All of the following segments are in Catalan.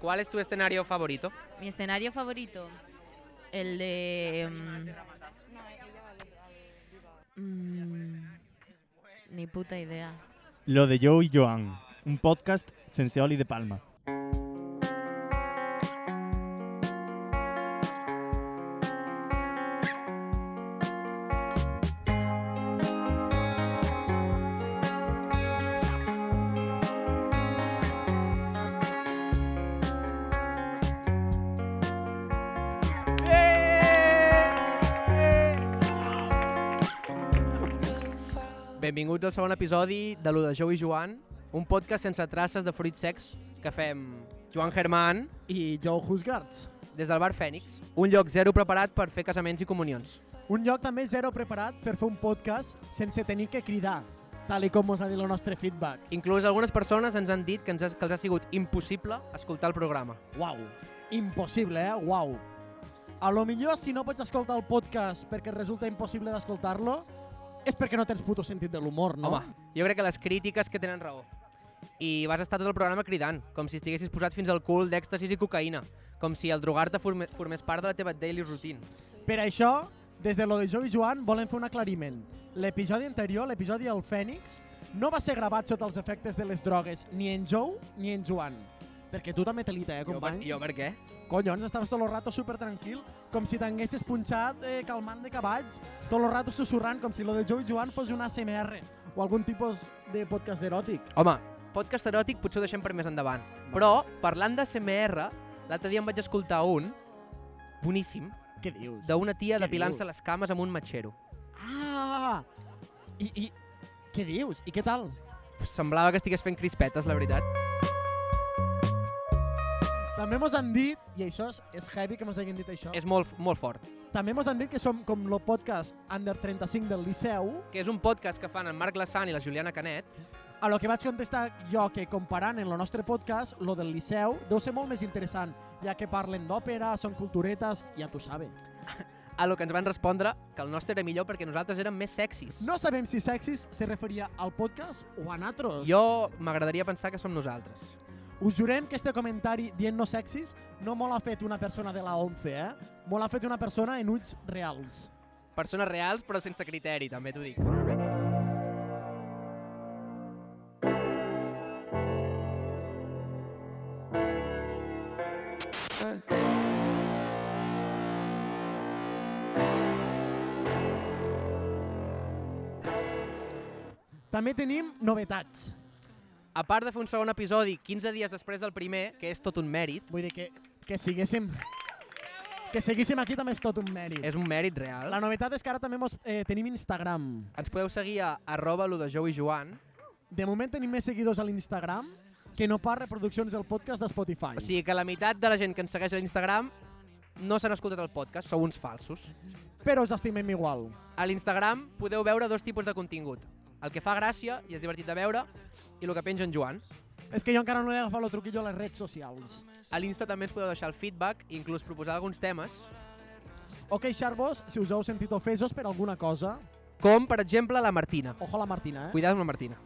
¿Cuál es tu escenario favorito? Mi escenario favorito, el de... mm, mm, ni puta idea. Lo de Joe y Joan, un podcast Senseoli de Palma. Benvinguts al segon episodi de lo de Jou i Joan, un podcast sense traces de fruits secs que fem Joan Germán i Joe Husgards. des del Bar Fènix, un lloc zero preparat per fer casaments i comunions. Un lloc també zero preparat per fer un podcast sense tenir que cridar, tal i com ens ha dit el nostre feedback. Inclús algunes persones ens han dit que, ens ha, que els ha sigut impossible escoltar el programa. Uau, impossible, eh? Uau. A lo millor, si no pots escoltar el podcast perquè resulta impossible d'escoltar-lo, és perquè no tens puto sentit de l'humor, no? Home, jo crec que les crítiques que tenen raó. I vas estar tot el programa cridant, com si estiguessis posat fins al cul d'èxtasis i cocaïna, com si el drogar-te forme- formés part de la teva daily routine. Per això, des de lo de Joe i Joan volem fer un aclariment. L'episodi anterior, l'episodi del Fènix, no va ser gravat sota els efectes de les drogues ni en Joe ni en Joan. Perquè tu també telita, eh, Jo per, company? jo per què? Collons, estaves tot el rato super tranquil, com si t'haguessis punxat eh, calmant de cavalls, tot el rato susurrant, com si lo de Joe i Joan fos una ASMR o algun tipus de podcast eròtic. Home, podcast eròtic potser ho deixem per més endavant. Però, parlant de CMR, l'altre dia em vaig escoltar un, boníssim, Què dius? d'una tia Què depilant-se dius? les cames amb un matxero. Ah! I, i, què dius? I què tal? Semblava que estigués fent crispetes, la veritat. També mos han dit, i això és, és heavy que mos hagin dit això, És molt, molt fort. també mos han dit que som com el podcast Under 35 del Liceu, Que és un podcast que fan en Marc Lassant i la Juliana Canet. a lo que vaig contestar jo que comparant en el nostre podcast, lo del Liceu deu ser molt més interessant, ja que parlen d'òpera, són culturetes, ja tu sabes. A lo que ens van respondre que el nostre era millor perquè nosaltres érem més sexis. No sabem si sexis se referia al podcast o a natros. Jo m'agradaria pensar que som nosaltres. Us jurem que este comentari dient no sexis no molt ha fet una persona de la 11, eh? Molt ha fet una persona en ulls reals. Persones reals però sense criteri, també t'ho dic. També tenim novetats. A part de fer un segon episodi 15 dies després del primer, que és tot un mèrit, Vull dir que, que siguéssim... Que seguíssim aquí també és tot un mèrit. és un mèrit real. La novetat és que ara també mos, eh, tenim Instagram. Ens podeu seguir a arroba lo de Jou i Joan. De moment tenim més seguidors a l'Instagram que no pas reproduccions del podcast de Spotify. O sigui que la meitat de la gent que ens segueix a Instagram no s'han escoltat el podcast, sou uns falsos. Però us estimem igual. A l'Instagram podeu veure dos tipus de contingut. El que fa gràcia i és divertit de veure i el que penja en Joan. És que jo encara no he agafat el truquillo a les redes socials. A l'Insta també ens podeu deixar el feedback i inclús proposar alguns temes, o queixar-vos si us heu sentit ofesos per alguna cosa. com per exemple la Martina. Ojo a la Martina, eh? Cuidado amb la Martina.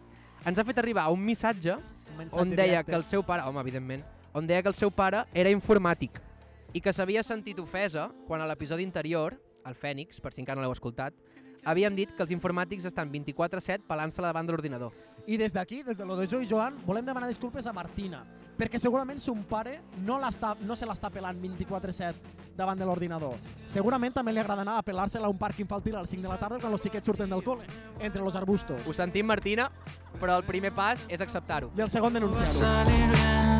Ens ha fet arribar un missatge Un mensatge on deia directe. que el seu pare, home, evidentment, on deia que el seu pare era informàtic i que s'havia sentit ofesa quan a l'episodi anterior, el Fènix, per si encara no l'heu escoltat, havíem dit que els informàtics estan 24-7 pelant-se davant de l'ordinador. I des d'aquí, des de lo de Jo i Joan, volem demanar disculpes a Martina, perquè segurament son pare no, l'està- no se l'està pelant 24-7 davant de l'ordinador. Segurament també li agrada anar a pelar-se-la a un parc infantil a les 5 de la tarda quan els xiquets surten del col·le, entre los arbustos. Ho sentim, Martina, però el primer pas és acceptar-ho. I el segon denunciar-ho.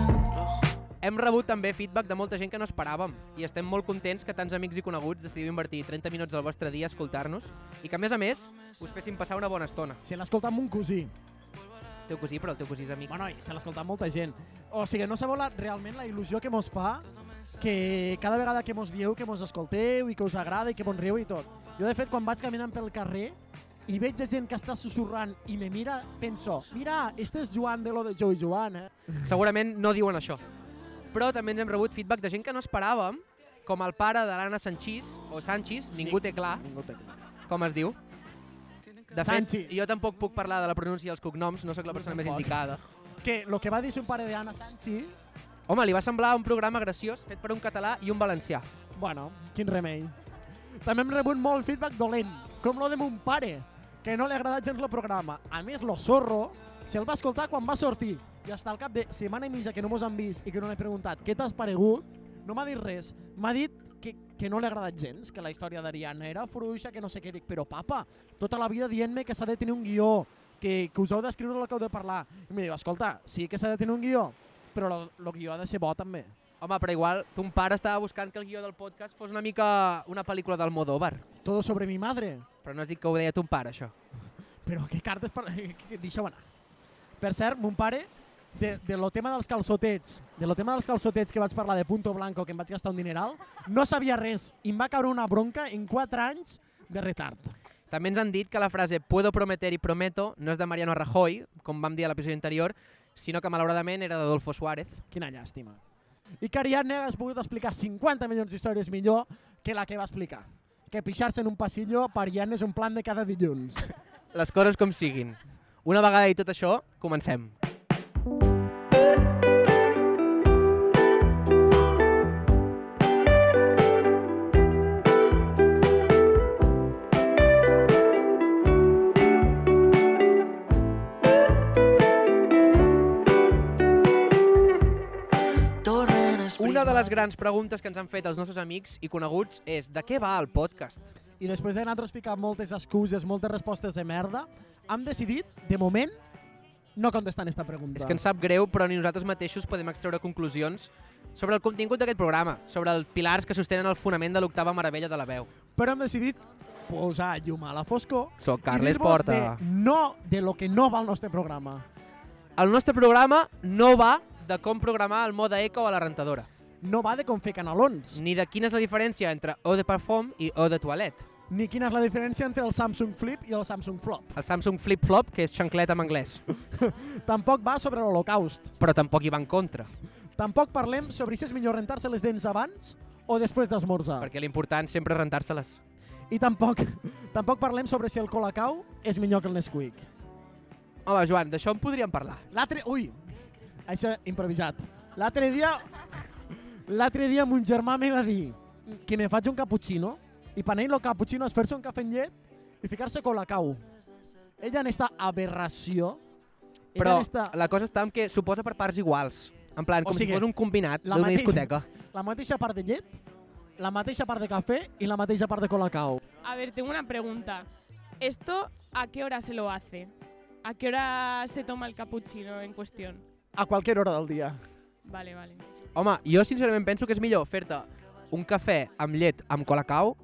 Hem rebut també feedback de molta gent que no esperàvem i estem molt contents que tants amics i coneguts decidiu invertir 30 minuts del vostre dia a escoltar-nos i que, a més a més, us fessin passar una bona estona. Se l'escolta amb un cosí. Teu cosí, però el teu cosí és amic. Bueno, i se l'escolta molta gent. O sigui, no sabeu la, realment la il·lusió que mos fa que cada vegada que mos dieu que mos escolteu i que us agrada i que mos riu i tot. Jo, de fet, quan vaig caminant pel carrer i veig gent que està susurrant i me mira, penso, mira, este és Joan de lo de Joe i Joan, eh? Segurament no diuen això. Però també ens hem rebut feedback de gent que no esperàvem, com el pare de l'Anna Sanchís, o Sanchís, ningú té clar Ningú té clar. com es diu. De fet, Sanchis. jo tampoc puc parlar de la pronúncia dels cognoms, no sóc la persona més tampoc. indicada. Que lo que va dir son pare de Anna Sanchi Home, li va semblar un programa graciós fet per un català i un valencià. Bueno, quin remei. També hem rebut molt feedback dolent, com lo de mon pare, que no li ha agradat gens el programa. A més, lo zorro se'l va escoltar quan va sortir i hasta al cap de setmana i mitja que no mos han vist i que no l'he preguntat què t'has paregut, no m'ha dit res. M'ha dit que, que no li ha agradat gens, que la història d'Ariana era fluixa, que no sé què. Dic, però papa, tota la vida dient-me que s'ha de tenir un guió, que, que us heu d'escriure el que heu de parlar. I em diu, escolta, sí que s'ha de tenir un guió, però el guió ha de ser bo també. Home, però igual, ton pare estava buscant que el guió del podcast fos una mica una pel·lícula d'Almodóvar. Todo sobre mi madre. Però no has dit que ho deia ton pare, això. Però què cartes per... que- Deixa-ho anar. Per cert, mon pare, de, de lo tema dels calçotets, de lo tema dels calçotets que vaig parlar de Punto Blanco, que em vaig gastar un dineral, no sabia res i em va caure una bronca en 4 anys de retard. També ens han dit que la frase «puedo prometer y prometo» no és de Mariano Rajoy, com vam dir a l'episodi anterior, sinó que malauradament era d'Adolfo Suárez. Quina llàstima. I que Ariadne hagués pogut explicar 50 milions d'històries millor que la que va explicar. Que pixar-se en un passillo per Ariadne és un plan de cada dilluns. Les coses com siguin. Una vegada i tot això, comencem. Una de les grans preguntes que ens han fet els nostres amics i coneguts és de què va el podcast? i després de nosaltres ficar moltes excuses, moltes respostes de merda, hem decidit, de moment, no contestar en esta pregunta. És que ens sap greu, però ni nosaltres mateixos podem extreure conclusions sobre el contingut d'aquest programa, sobre els pilars que sostenen el fonament de l'octava meravella de la veu. Però hem decidit posar llum a la foscor Soc i Carles dir-vos Porta. de no de lo que no va al nostre programa. El nostre programa no va de com programar el mode eco a la rentadora, No va de com fer canalons, ni de quina és la diferència entre eau de parfum i eau de toilette. ni quina és la diferència entre el Samsung Flip i el Samsung Flop. El Samsung Flip Flop, que és xanclet en anglès, Tampoc va sobre l'Holocaust. però tampoc hi va en contra, Tampoc parlem sobre si és millor rentar-se les dents abans o després d'esmorzar. perquè l'important sempre és rentar-se-les. I tampoc, tampoc parlem sobre si el Colacau és millor que el Nesquik. Home, Joan, d'això en podríem parlar. L'altre... Ui! Això, improvisat. L'altre dia... L'altre dia mon germà me va dir que me faig un cappuccino i per ell el cappuccino és fer-se un cafè amb llet i ficar-se colacau. Ella en esta aberració... ella Però en esta, la... la cosa està en que suposa per parts iguals. En plan, O com sigui, si fos un combinat la d'una mateixa- discoteca. la mateixa part de llet, la mateixa part de cafè i la mateixa part de colacau. A ver, tengo una pregunta. ¿Esto a qué hora se lo hace? ¿A qué hora se toma el cappuccino en cuestión? A qualsevol hora del dia. Vale, vale. Home, jo sincerament penso que és millor fer-te un cafè amb llet amb colacau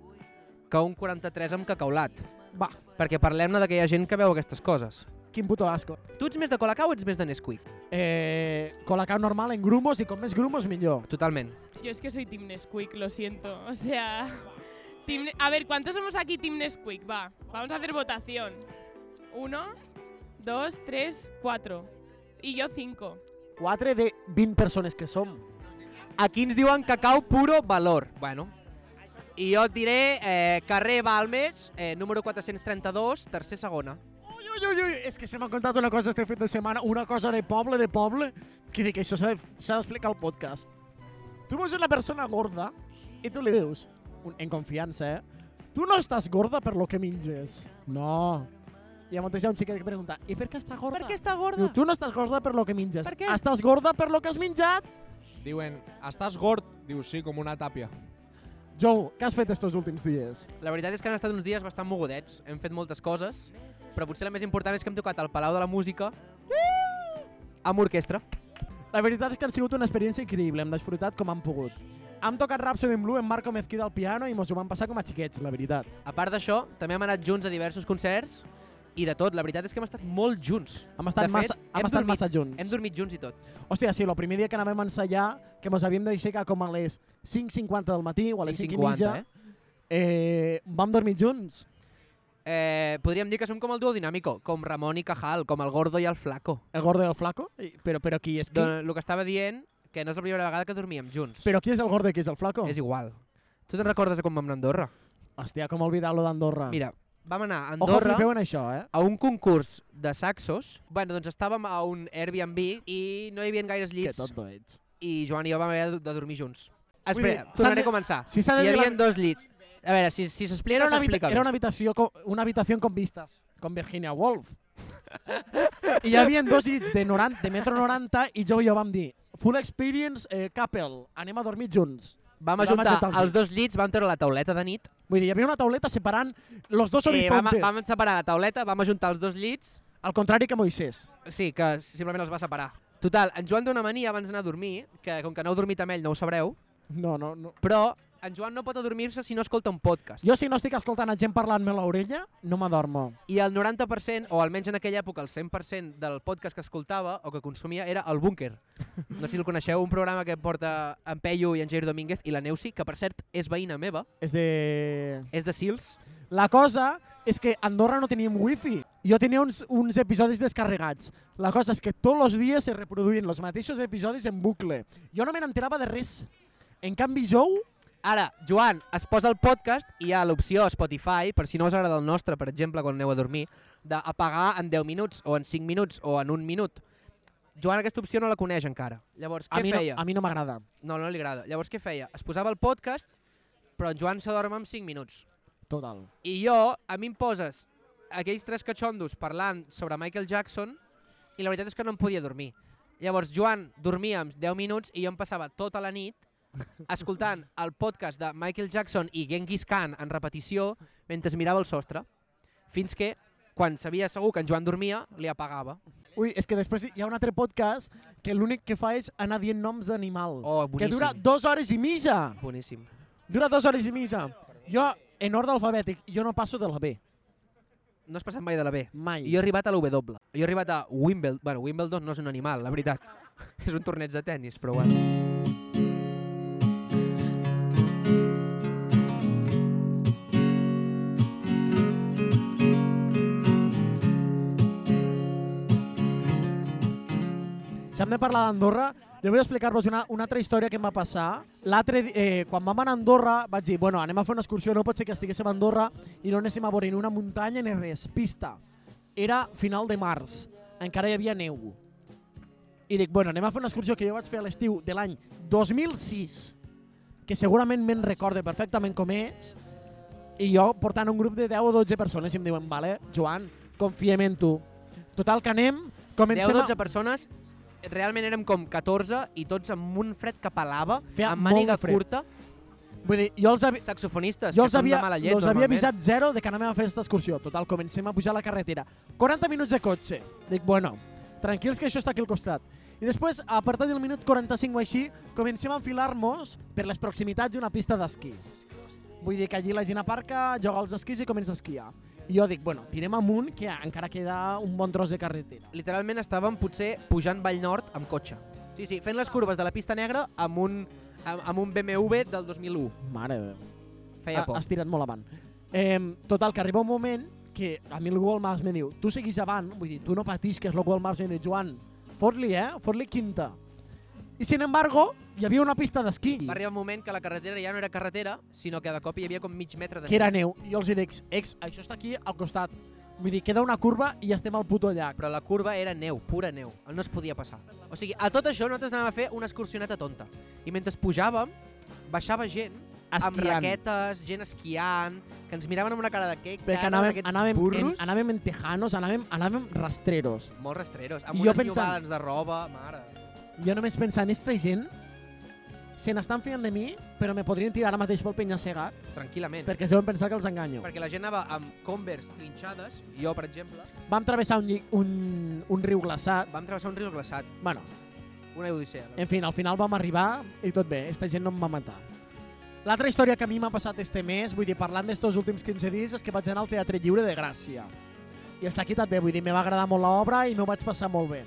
que un 43 amb cacaulat. Va, Perquè parlem-ne de que hi ha gent que veu aquestes coses. quin puto asco. Tu ets més de colacau o ets més de Nesquik? Eh, colacau normal en grumos i com més grumos millor. Totalment. Yo es que soy Team Nesquik, lo siento. O sea... Team Ne- A ver, ¿cuántos somos aquí Team Nesquik? Va, vamos a hacer votación. Uno, dos, tres, cuatro. Y yo cinco. 4 de 20 persones que som. Aquí ens diuen cacau puro valor. Bueno, i jo et diré eh, carrer Balmes, eh, número 432, tercer segona. Ui, ui, ui, ui, és que se m'ha contat una cosa este fet de setmana, una cosa de poble, de poble, que dic, això s'ha de- s'ha d'explicar al podcast. Tu veus una persona gorda i tu li dius, un- en confiança, eh? Tu no estàs gorda per lo que minges. No. I llavors hi ha un xiquet que pregunta, i per què està gorda? Per què està Diu, gorda? tu no estàs gorda per lo que minges. Per què? Estàs gorda per lo que has menjat. Diuen, estàs gord? Dius, sí, com una tàpia. Jou, què has fet estos últims dies? La veritat és que han estat uns dies bastant mogudets, hem fet moltes coses, però potser la més important és que hem tocat al Palau de la Música uh, amb orquestra. La veritat és que han sigut una experiència increïble, hem disfrutat com han pogut. Hem tocat Rhapsody in Blue amb Marco Mezquida al piano i mos ho vam passar com a xiquets, la veritat. A part d'això, també hem anat junts a diversos concerts i de tot. La veritat és que hem estat molt junts. Hem estat, De fet, massa, hem hem estat dormit. massa junts. Hem dormit junts i tot. Hòstia, sí, el primer dia que anàvem a ensenyar, que ens havíem d'aixecar com a les 5.50 del matí o a les 5.50, 50, eh? eh, vam dormir junts. eh? Podríem dir que som com el duo dinàmico, com Ramon i Cajal, com el Gordo i el Flaco. El gordo i el flaco. I, però, però qui és qui? Doncs el que estava dient, que no és la primera vegada que dormíem junts. Però qui és el gordo i qui és el flaco? És igual. Tu te'n recordes de com vam anar a Andorra? Hòstia, com oblidar-lo d'Andorra. Mira, vam anar a Ah. Ojo, Andorra flipeu en això, eh? a un concurs de saxos. Bueno, doncs estàvem a un Airbnb i no hi havia gaires Que llits. tot no ets. i Joan i jo vam haver de- de dormir junts. Vull Espera, dir, tornaré a tornem- començar. si s'ha de Hi dir la- havia dos llits. A veure, si, si s'explica Era no una, habita- s'explica era bé. una habitació, con, una habitación con vistas, con Virginia Woolf. I hi havia dos llits de, 90, de metro 90 i jo i jo vam dir full experience eh, couple, anem a dormir junts. Vam vam ajuntar ajuntar els els dos llits, vam treure la tauleta de nit. Vull dir, hi havia una tauleta separant los dos Eh, vam, horizontes, vam separar la tauleta, vam ajuntar els dos llits. al contrari que Moisés. Sí, que simplement els va separar. Total, en Joan té una mania abans d'anar a dormir, que com que no heu dormit amb ell no ho sabreu, No, no, no. però en Joan no pot adormir-se si no escolta un podcast. Jo si no estic escoltant a gent parlant-me a l'orella, no m'adormo. I el 90%, o almenys en aquella època el 100% del podcast que escoltava o que consumia era El Búnquer. No sé si el coneixeu, un programa que porta en Peyu i en Jair Domínguez i la Neusi, que per cert és veïna meva, És de... és de Sils. La cosa és que a Andorra no teníem wifi. Jo tenia uns, uns episodis descarregats. La cosa és que tots els dies se reproduïen els mateixos episodis en bucle. Jo no me n'enterava de res. En canvi, jo, Ara, Joan, es posa el podcast i hi ha l'opció a Spotify, per si no us agrada el nostre, per exemple, quan aneu a dormir, d'apagar en 10 minuts, o en 5 minuts, o en un minut. Joan aquesta opció no la coneix encara. Llavors, a què mi, no, feia? a mi no m'agrada. No, no li agrada. Llavors què feia? Es posava el podcast, però en Joan s'adorm en 5 minuts. Total. I jo, a mi em poses aquells tres catxondos parlant sobre Michael Jackson i la veritat és que no em podia dormir. Llavors, Joan dormia amb 10 minuts i jo em passava tota la nit escoltant el podcast de Michael Jackson i Genghis Khan en repetició mentre es mirava el sostre. Fins que, quan sabia segur que en Joan dormia, li apagava. Ui, és que després hi ha un altre podcast que l'únic que fa és anar dient noms d'animal. Oh, que boníssim. dura dues hores i mitja. Boníssim. Dura dues hores i mitja. Jo, en ordre alfabètic, jo no passo de la B. No has passat mai de la B. Mai. Jo he arribat a la W. Jo he arribat a Wimbledon. Bueno, Wimbledon no és un animal, la veritat. és un torneig de tennis, però bueno. Si hem de parlar d'Andorra, jo vull explicar-vos una, una altra història que em va passar. L'altre, di- eh, quan vam anar a Andorra, vaig dir, bueno, anem a fer una excursió, no pot ser que estiguéssim a Andorra i no anéssim a veure ni una muntanya ni res, pista. Era final de març, encara hi havia neu. I dic, bueno, anem a fer una excursió que jo vaig fer a l'estiu de l'any 2006, que segurament me'n recorde perfectament com és, i jo portant un grup de 10 o 12 persones i em diuen, vale, Joan, confiem en tu. Total, que anem, 10 comencem a... 12 persones, realment érem com 14 i tots amb un fred que pelava, Feia amb molt màniga de fred. curta, Vull dir, jo els, avi... saxofonistes, jo que els són havia, de mala llet els havia normalment. avisat zero de que anàvem a fer aquesta excursió. Total, comencem a pujar la carretera. 40 minuts de cotxe. Dic, bueno, tranquils que això està aquí al costat. I després, a partir del minut 45 o així, comencem a enfilar-nos per les proximitats d'una pista d'esquí. Vull dir que allí la gent aparca, joga els esquís i comença a esquiar. I jo dic, bueno, tirem amunt, que encara queda un bon tros de carretera. Literalment estàvem potser pujant Vall Nord amb cotxe. Sí, sí, fent les curves de la pista negra amb un, amb, amb un BMW del 2001. Mare de Déu. Feia Ha- por. Ah, Has tirat molt avant. Eh, total, que arriba un moment que a mi el Google Maps me diu tu seguis avant, vull dir, tu no patis, que és el Google Maps em diu, Joan, fot-li, eh? Fot-li quinta. I, sin embargo, hi havia una pista d'esquí, Va arribar un moment que la carretera ja no era carretera, sinó que de cop hi havia com mig metre de que era neu. I jo els hi dic, ex, això està aquí al costat. Vull dir, queda una curva i ja estem al puto llac. però la curva era neu, pura neu, no es podia passar. O sigui, a tot això nosaltres anàvem a fer una excursioneta tonta. I mentre pujàvem, baixava gent amb raquetes, gent esquiant, que ens miraven amb una cara de què? perquè cara, anàvem, aquests anàvem, en, burros? anàvem en tejanos, anàvem, anàvem rastreros. Molt rastreros, amb I jo unes pensant- llobalans de roba, mare. Jo només pensant, esta gent se n'estan fiant de mi, però me podrien tirar ara mateix pel penya-segat Tranquil·lament. perquè es deuen pensar que els enganyo. Perquè la gent anava amb Converse trinxades, jo, per exemple, Vam travessar un, lli- un, un riu glaçat. vam travessar un riu glaçat, Bueno, una odissea. la en fi, al final vam arribar i tot bé, esta gent no em va matar. L'altra història que a mi m'ha passat este mes, vull dir, parlant d'estos últims 15 dies, és que vaig anar al Teatre Lliure de Gràcia. I està aquí també, vull dir, me va agradar molt l'obra i m'ho vaig passar molt bé.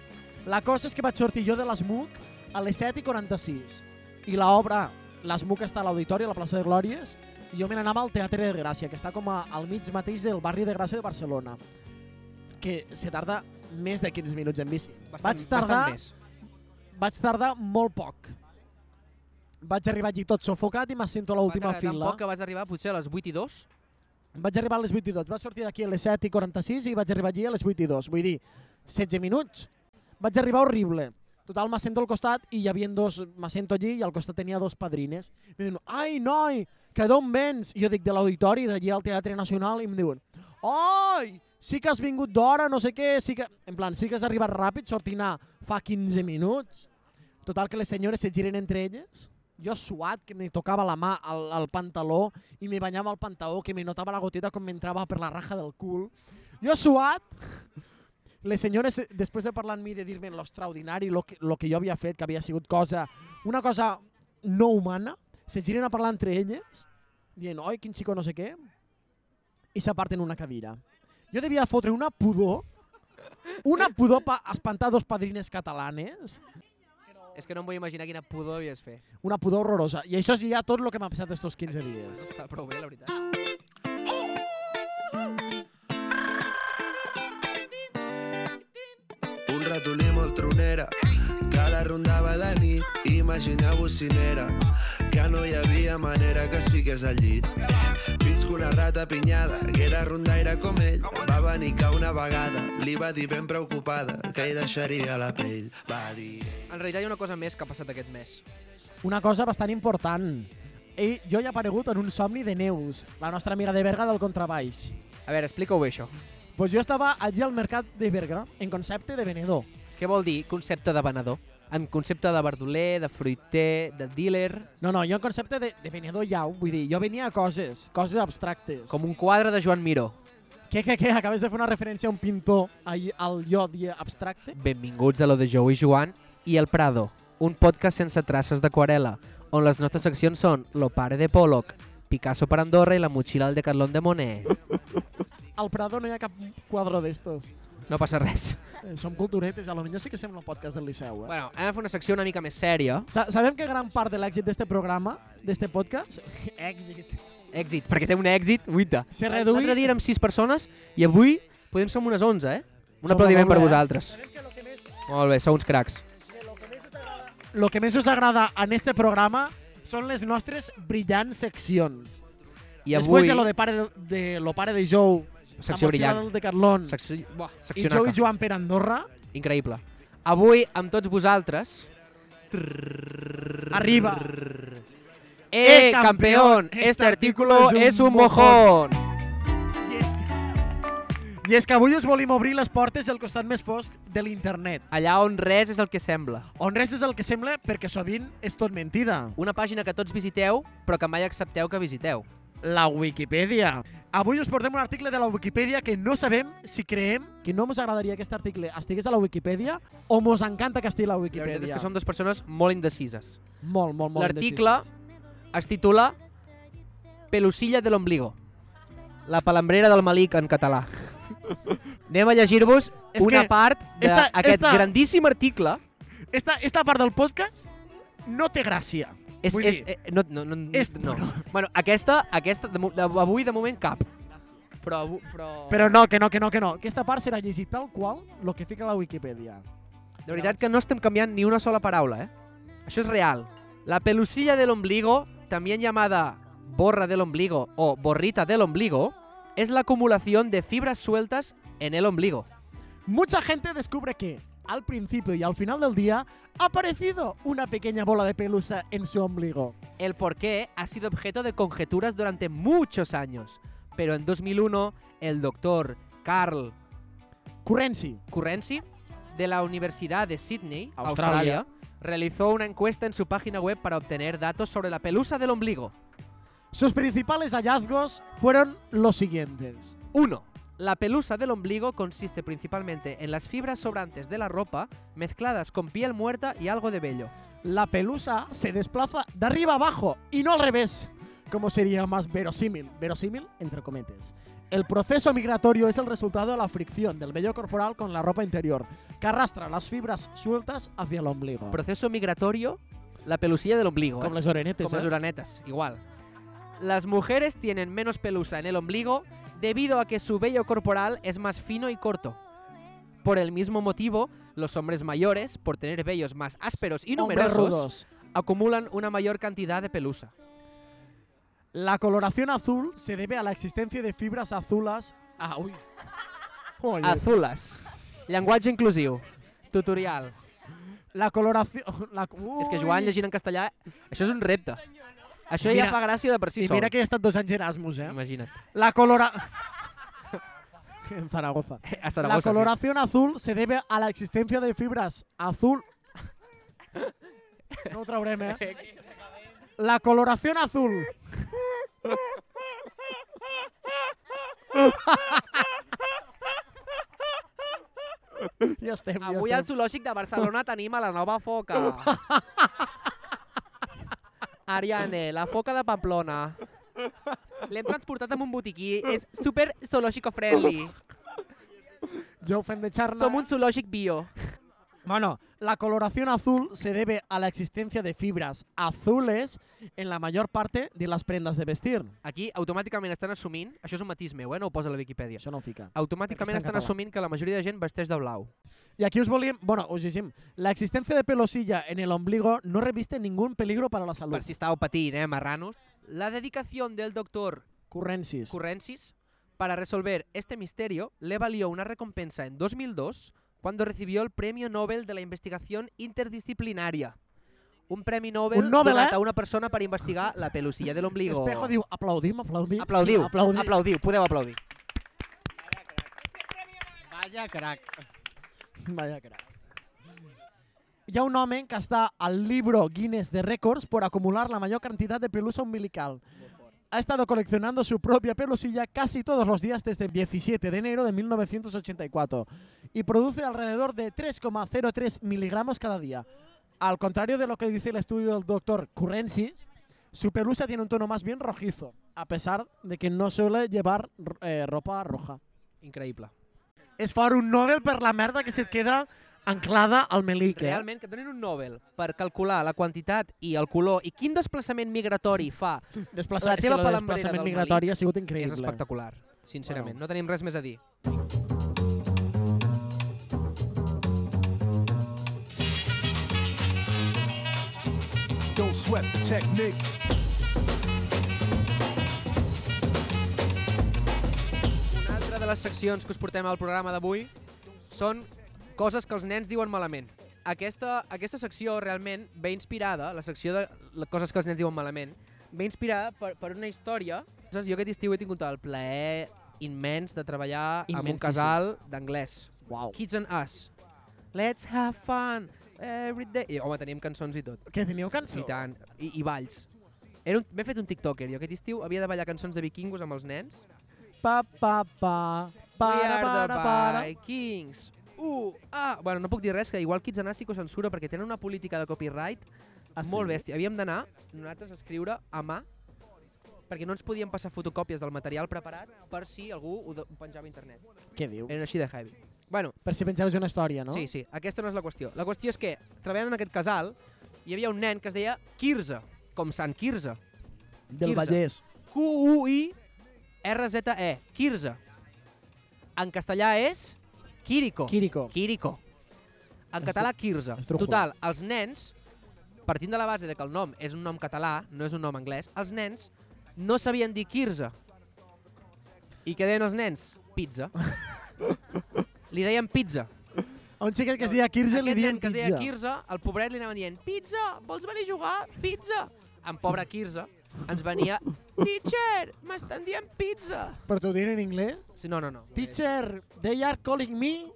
La cosa és que vaig sortir jo de l'ESMUC a les 7 i 46. I l'obra, l'ESMUC està a l'Auditori, a la plaça de Glòries, i jo me n'anava al Teatre de Gràcia, que està com a, al mig mateix del barri de Gràcia de Barcelona, que se tarda més de 15 minuts en bici. veritat. vaig tardar bastant més. vaig tardar molt poc. Vaig arribar allí tot sofocat i m'assento a l'última Tan fila. poc que vas arribar potser a les 8 i 2. Vaig arribar a les 8 i 2. Vaig sortir d'aquí a les 7 i 46 i vaig arribar allí a les 8 i 2. Vull dir, 16 minuts. Vaig arribar horrible. Total, m'assento al costat i hi havia dos... M'assento allí i al costat tenia dos padrines. Em diuen, ai, noi, que d'on vens? I jo dic, de l'auditori, d'allí al Teatre Nacional, i em diuen, ai, sí que has vingut d'hora, no sé què, sí que... En plan, sí que has arribat ràpid, sortint a fa 15 minuts. Total, que les senyores se giren entre elles. Jo suat, que me tocava la mà al, al pantaló i me banyava el pantaló, que me notava la goteta com m'entrava per la raja del cul. Jo suat, les senyores, eh, després de parlar amb mi, de dir-me l'extraordinari, lo, que, lo que jo havia fet, que havia sigut cosa, una cosa no humana, se giren a parlar entre elles, dient, oi, quin xico no sé què, i s'aparten una cadira. Jo devia fotre una pudor, una pudor pa espantar dos padrines catalanes, És que no em vull imaginar quina pudor devies fer. una pudor horrorosa. I això és ja tot el que m'ha passat estos 15 dies. Està prou bé, la veritat. Un ratolí molt tronera que la rondava de nit. Imagina bocinera que no hi havia manera que es fiqués al llit. Fins que una rata pinyada, que era rondaire com ell, va venir que una vegada li va dir ben preocupada que hi deixaria la pell. Va dir... En realitat hi ha una cosa més que ha passat aquest mes. Una cosa bastant important. Ell, jo hi he aparegut en un somni de Neus, la nostra amiga de Berga del contrabaix. A veure, explica-ho bé, això. Pues jo estava allí al mercat de Berga, en concepte de venedor. Què vol dir concepte de venedor? En concepte de verdoler, de fruiter, de dealer... No, no, jo en concepte de, de venedor ja, vull dir, jo venia a coses, coses abstractes. Com un quadre de Joan Miró. Què, què, què? Acabes de fer una referència a un pintor ahir al jo dia abstracte? Benvinguts a lo de Jou i Joan i El Prado, un podcast sense traces d'aquarela, on les nostres seccions són Lo pare de Pollock, Picasso per Andorra i la motxilla del Decathlon de Monet. Al Prado no hi ha cap quadro d'estos. No passa res. Eh, som culturetes, a lo millor sí que sembla un podcast del Liceu, eh? Bueno, hem de fer una secció una mica més sèria. Sa sabem que gran part de l'èxit d'este programa, d'este podcast, èxit, Èxit, perquè té un èxit, uita. se reduï... L'altre dia érem 6 persones i avui podem ser unes 11, eh? Un Som aplaudiment molt per bé, eh? vosaltres. Molt bé, sou uns cracs. Lo que més us agrada en este programa són les nostres brillants seccions. I Després avui... de lo de, pare, de lo pare de Jou, Secció brillant. de Carlón, Secció... Buah, i secció Jou i naca. Joan per Andorra, Increïble. Avui, amb tots vosaltres... arriba. ¡Eh, Eh, campeón! campeón, Este este artículo artículo es un mojón. I és, que... I és que avui us volem obrir les portes del costat més fosc de l'internet, Allà on res és el que sembla. on res és el que sembla perquè sovint és tot mentida. Una pàgina que tots visiteu, però que mai accepteu que visiteu. La Wikipedia. Avui us portem un article de la Wikipedia que no sabem si creem que no ens agradaria que aquest article estigués a la Wikipedia o mos encanta que estigui a la La veritat és Wikipedia. que som dues persones molt indecises. Molt, molt, molt L'article- indecisos. Es titula Pelusilla de l'ombligo. La palambrera del malic en català. Anem a llegir-vos És una que part esta- d'aquest esta- grandíssim article. Esta, esta part del podcast no té gràcia. És, Vull és, dir, eh, no, no, no, no, és- no. no. Bueno, aquesta, aquesta de, mo- de, avui de moment cap. Però, avu- però... Però no, que no, que no, que no. Aquesta part serà llegit tal qual el que fica a la Wikipedia. De veritat que no estem canviant ni una sola paraula, eh? Això és real. La pelusilla del ombligo, también llamada borra del ombligo o borrita del ombligo, es la acumulación de fibras sueltas en el ombligo. Mucha gente descubre que al principio y al final del día ha aparecido una pequeña bola de pelusa en su ombligo. El porqué ha sido objeto de conjeturas durante muchos años, pero en 2001 el doctor Carl Currency. Currency de la Universidad de Sydney, Australia. Australia, realizó una encuesta en su página web para obtener datos sobre la pelusa del ombligo. Sus principales hallazgos fueron los siguientes. 1. La pelusa del ombligo consiste principalmente en las fibras sobrantes de la ropa mezcladas con piel muerta y algo de vello. La pelusa se desplaza de arriba abajo y no al revés, como sería más verosímil, verosímil entre cometes. El proceso migratorio es el resultado de la fricción del vello corporal con la ropa interior, que arrastra las fibras sueltas hacia el ombligo. Proceso migratorio, la pelusilla del ombligo. Como ¿eh? las orenetes, Como ¿eh? las uranetas, igual. Las mujeres tienen menos pelusa en el ombligo debido a que su vello corporal es más fino y corto. Por el mismo motivo, los hombres mayores, por tener vellos más ásperos y Hombres numerosos, rudos. acumulan una mayor cantidad de pelusa. La coloración azul se debe a la existencia de fibras azulas. Ah, uy. Joder. Azulas. Llenguatge inclusiu. Tutorial. La coloració... La... Ui. És que Joan llegint en castellà, això és un repte. Això Mira- ja fa gràcia de per si I sol. mira que he estat dos anys Erasmus, eh? Imagina't. La colora... en Zaragoza. A Saragossa, la coloración azul se debe a la existencia de fibras azul. No ho traurem, eh? La coloración azul. ja estem, sí. ja Avui al estem. zoològic de Barcelona tenim a la nova foca. Ariane, la foca de Pamplona. L'hem transportat amb un botiquí. És super zoológico friendly. Jo ho fem de xarra. Som un zoològic bio. Bueno, la coloración azul se debe a la existencia de fibras azules en la mayor parte de las prendas de vestir. Aquí automàticament estan assumint... Això és un matís meu, eh? No ho posa a la Viquipèdia. Això no ho fica. Automàticament Perquè està estan en català. assumint que la majoria de gent vesteix de blau. Y aquí os volví, bueno, os llegim. La existencia de pelosilla en el ombligo no reviste ningún peligro para la salud. Per si estàveu patint, eh, marranos. La dedicación del doctor Currensis. Currensis para resolver este misterio le valió una recompensa en 2002 cuando recibió el Premio Nobel de la Investigación Interdisciplinaria. Un premi Nobel, Un Nobel, donat eh? a una persona per investigar la pelusilla de l'ombligo. Espejo diu, aplaudim, aplaudim. Aplaudiu, Sí, aplaudim. aplaudiu, podeu aplaudir. Vaya crack. Vaya crac. Hi ha un home que està al libro Guinness de Records por acumular la mayor cantidad de pelusa umbilical. Ha estado coleccionando su propia pelusilla casi todos los días desde el 17 de enero de 1984 y produce alrededor de 3,03 miligramos cada día. Al contrario de lo que dice el estudio del doctor Currensis, su pelusa tiene un tono más bien rojizo, a pesar de que no suele llevar eh, ropa roja. Increíble. es fora un Nobel per la merda que se't queda anclada al melic, eh? Realment, que et donin un Nobel per calcular la quantitat i el color i quin desplaçament migratori fa Desplaçar, La és teva que lo de palambrera desplaçament del migratori ha sigut increïble. és espectacular, sincerament. Bueno. No tenim res més a dir. Don't sweat the technique. Una altra de les seccions que us portem al programa d'avui són coses que els nens diuen malament. Aquesta, aquesta secció realment ve inspirada, la secció de la- coses que els nens diuen malament, ve inspirada per, per una història. Saps, jo aquest estiu he tingut el plaer immens de treballar amb un Immensíssim. casal d'anglès. Uau. Kids and Us. Let's have fun every day. I, home, teníem cançons i tot. Que teníeu cançó? I tant. I, i balls. Era un- M'he fet un tiktoker. Jo aquest estiu havia de ballar cançons de vikingos amb els nens Pa, pa, pa, para, We are para, the para. Vikings. Uh, ah. Bueno, no puc dir res, que igual Kids and Us sí que ho censura perquè tenen una política de copyright Ah, sí? molt bèstia. Havíem d'anar, nosaltres, a escriure a mà perquè no ens podien passar fotocòpies del material preparat per si algú ho, de- ho penjava a internet. Què diu? Eren així de heavy. Bueno, Per si pensaves una història, no? no? sí, sí, aquesta no és la qüestió. La qüestió és que, treballant en aquest casal, hi havia un nen que es deia Quirze, com Sant Quirze. Del 15. Vallès. Q-U-I-R-Z-E, E, Quirze. En castellà és Quirico. Quirico. Quirico. En català, Quirze. Estrujo. Total, els nens, partint de la base de que el nom és un nom català, no és un nom anglès, els nens no sabien dir Quirze. I què deien els nens? Pizza. Li deien pizza. A un xiquet que es deia Quirze li Aquest diuen nen que es deia pizza. Quirze, el pobret li anava dient Pizza, vols venir a jugar? Pizza. En pobre Quirze ens venia Teacher, m'estan dient pizza. Però t'ho diuen en anglès? Sí, no, no, no. Teacher, they are calling me.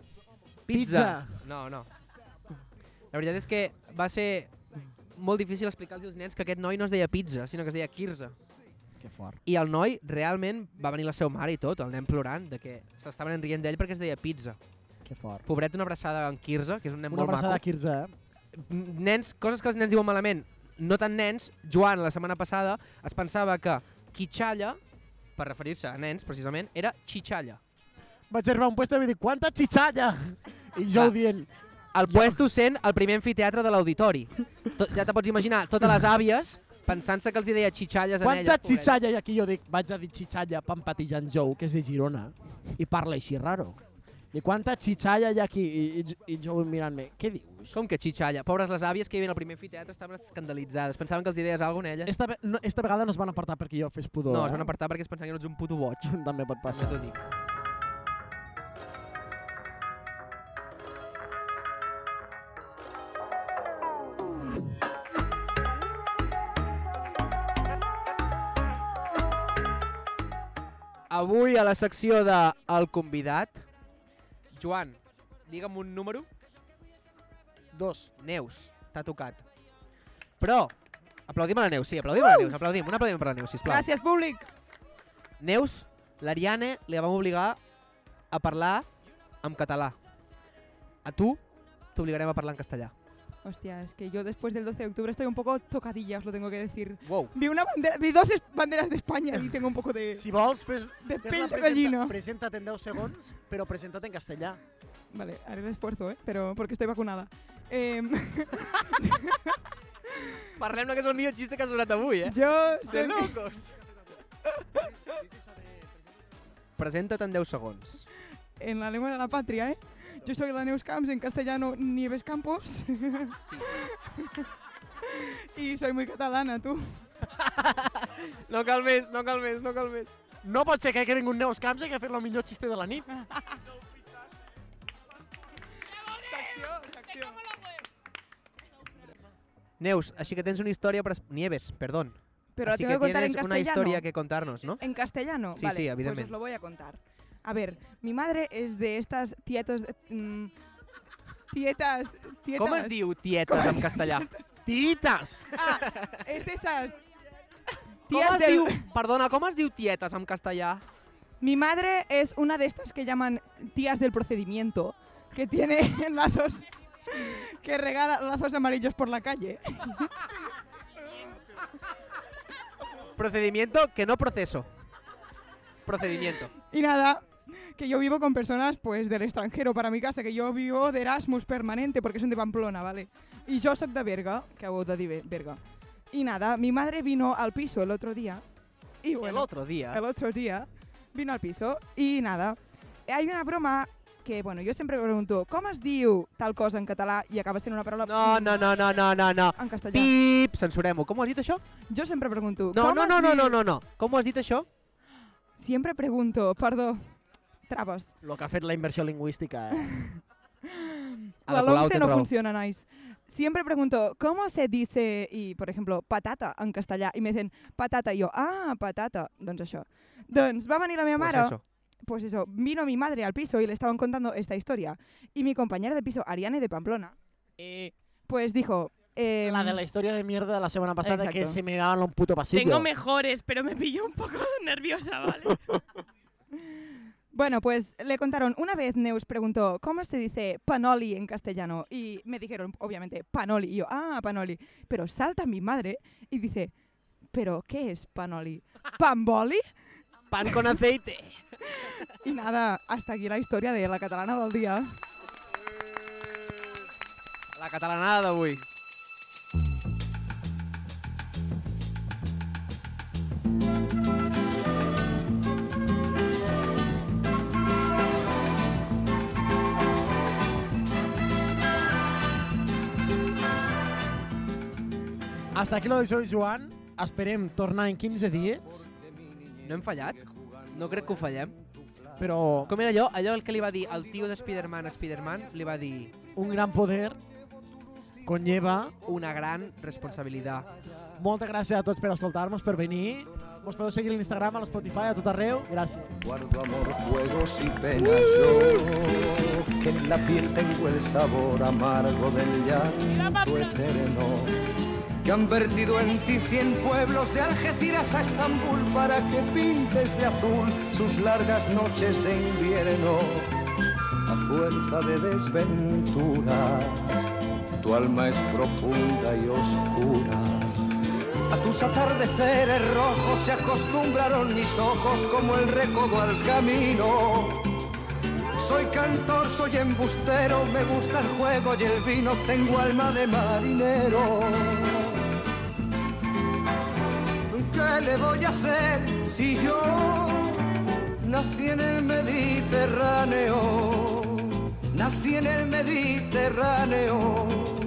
Pizza. No, no. La veritat és que va ser molt difícil explicar-los als nens que aquest noi no es deia pizza, sinó que es deia Quirze. Que fort. I el noi realment va venir la seva mare i tot, el nen plorant, de que s'estaven enrient d'ell perquè es deia pizza. Que fort. Pobret, una abraçada en Quirze, que és un nen Una molt abraçada maco. a Quirze, eh? nens, coses que els nens diuen malament, no tan nens, Joan, la setmana passada, es pensava que quitxalla, per referir-se a nens, precisament, era xitxalla. Vaig arribar a un puesto i vaig dir, quanta xitxalla! I jo Clar. ho dient, El puesto sent el primer amfiteatre de l'auditori. Tot- Ja te pots imaginar, totes les àvies pensant-se que els hi deia xitxalles a elles. Quanta pobretes. xitxalla i aquí jo dic, vaig a dir xitxalla per en Pati Jan Jou, que és de Girona, i parla així raro. I quanta xitxalla hi ha aquí? I, i, i Jou mirant-me, què dius? Com que xitxalla? Pobres les àvies que hi havia al primer amfiteatre estaven escandalitzades. Pensaven que els hi deies alguna cosa a elles. Esta, ve- no, esta vegada no es van apartar perquè jo fes pudor. No, es van apartar perquè es pensaven que no ets un puto boig. apartar. També pot Passa. passar. També t'ho dic. Avui a la secció de El convidat, Joan, digue'm un número. Dos. Neus, t'ha tocat. Però, aplaudim a la Neus, sí, aplaudim a la Neus, aplaudim, un aplaudiment per la Neus, sisplau. Gràcies, públic. Neus, l'Ariane li vam obligar a parlar en català. A tu t'obligarem a parlar en castellà. Hostia, es que yo después del 12 de octubre estoy un poco tocadilla, os lo tengo que decir. Wow. Vi una bandera, vi dos es- banderas de España y tengo un poco de, Si vols, fes, fes de pell de presenta- gallina. Presenta't en 10 segons, però presenta't en castellà. Vale, haré el esfuerzo, ¿eh? Pero porque estoy vacunada. Em, Parlem-ne que és el millor xiste que ha sonat avui, eh? yo soy... locos! Presenta't en 10 segons. en la lengua de la patria, ¿eh? Yo soy la Neus Camps, en castellano Nieves Campos. y soy muy catalana, tú. No cal més, no cal més, no cal més. No pot ser que hagi vingut Neus Camps i que ha fet el millor xiste de la nit. Neus, així que tens una història per... es- Nieves, perdón. Pero la Así tengo que que contar en Eh, tienes castellano. una historia que contarnos, ¿no? En castellano, Sí, vale, sí, pues evidentment. os lo voy a contar. A ver, mi madre es de estas tietas... mm, tietas, tietas... Com es diu tietes en castellà? Titas! Ah, es de esas... Com Tías es del- diu... Perdona, com es diu tietes en castellà? Mi madre es una de estas que llaman tías del procedimiento, que tiene lazos que regala lazos amarillos por la calle. Procedimiento que no proceso. Procedimiento. Y nada, que yo vivo con personas pues del extranjero para mi casa, que yo vivo de Erasmus permanente porque son de Pamplona, ¿vale? Y yo soy de Berga, que hago de Dive- Berga. Y nada, mi madre vino al piso el otro día. Y El bueno, otro día... el otro día vino al piso y nada, hay una broma que, bueno, yo siempre pregunto, ¿cómo es diu tal cosa en català y acaba siendo una paraula No, no, no, no, no, no, no. en castellà? Pip, censurem-ho. Com ho has dit, això? Jo sempre pregunto... No, com no, es no, no, diu? no, no, no. Com ho has dit, això? Sempre pregunto, perdó, traves. Lo que ha fet la inversió lingüística, eh? A la La Colau LOMCE tens no raó. funciona, nice. Siempre pregunto, ¿cómo se dice, y por ejemplo, patata en castellà? I me dicen, patata, i jo, ah, patata, doncs això. Doncs va venir la meva Pues mare, eso. pues eso, vino mi madre al piso y le estaban contando esta historia. Y mi compañera de piso, Ariane de Pamplona, Eh, pues dijo... Eh, La de la història de mierda de la setmana passada Exacto. que se me daban un puto pasillo. tengo mejores, pero me pilló un poco nerviosa, ¿vale? Bueno, pues le contaron, una vez Neus preguntó, ¿cómo se dice panoli en castellano? Y me dijeron, obviamente, panoli. Y yo, ah, panoli. Pero salta mi madre y dice, ¿pero qué es panoli? ¿Pamboli? Pan con aceite. Y nada, hasta aquí la historia de la catalana del día. La catalanada d'avui. Hasta aquí lo de Soy Joan. Esperem tornar en 15 dies, No hem fallat? No crec que ho fallem. però Com era allò? Allò el que li va dir el tio de Spider-Man a Spider-Man, li va dir un gran poder conlleva una gran responsabilitat. Moltes gràcies a tots per escoltar-nos, per venir. Vos podeu seguir a l'Instagram, a l'Spotify, a tot arreu. Gràcies. Guardo amor, juegos y penas yo, que en la piel tengo el sabor amargo del llanto eterno. Que han vertido en ti cien pueblos de Algeciras a Estambul para que pintes de azul sus largas noches de invierno. A fuerza de desventuras, tu alma es profunda y oscura. A tus atardeceres rojos se acostumbraron mis ojos como el recodo al camino. Soy cantor, soy embustero, me gusta el juego y el vino, tengo alma de marinero. ¿Qué le voy a hacer si yo nací en el Mediterráneo? Nací en el Mediterráneo.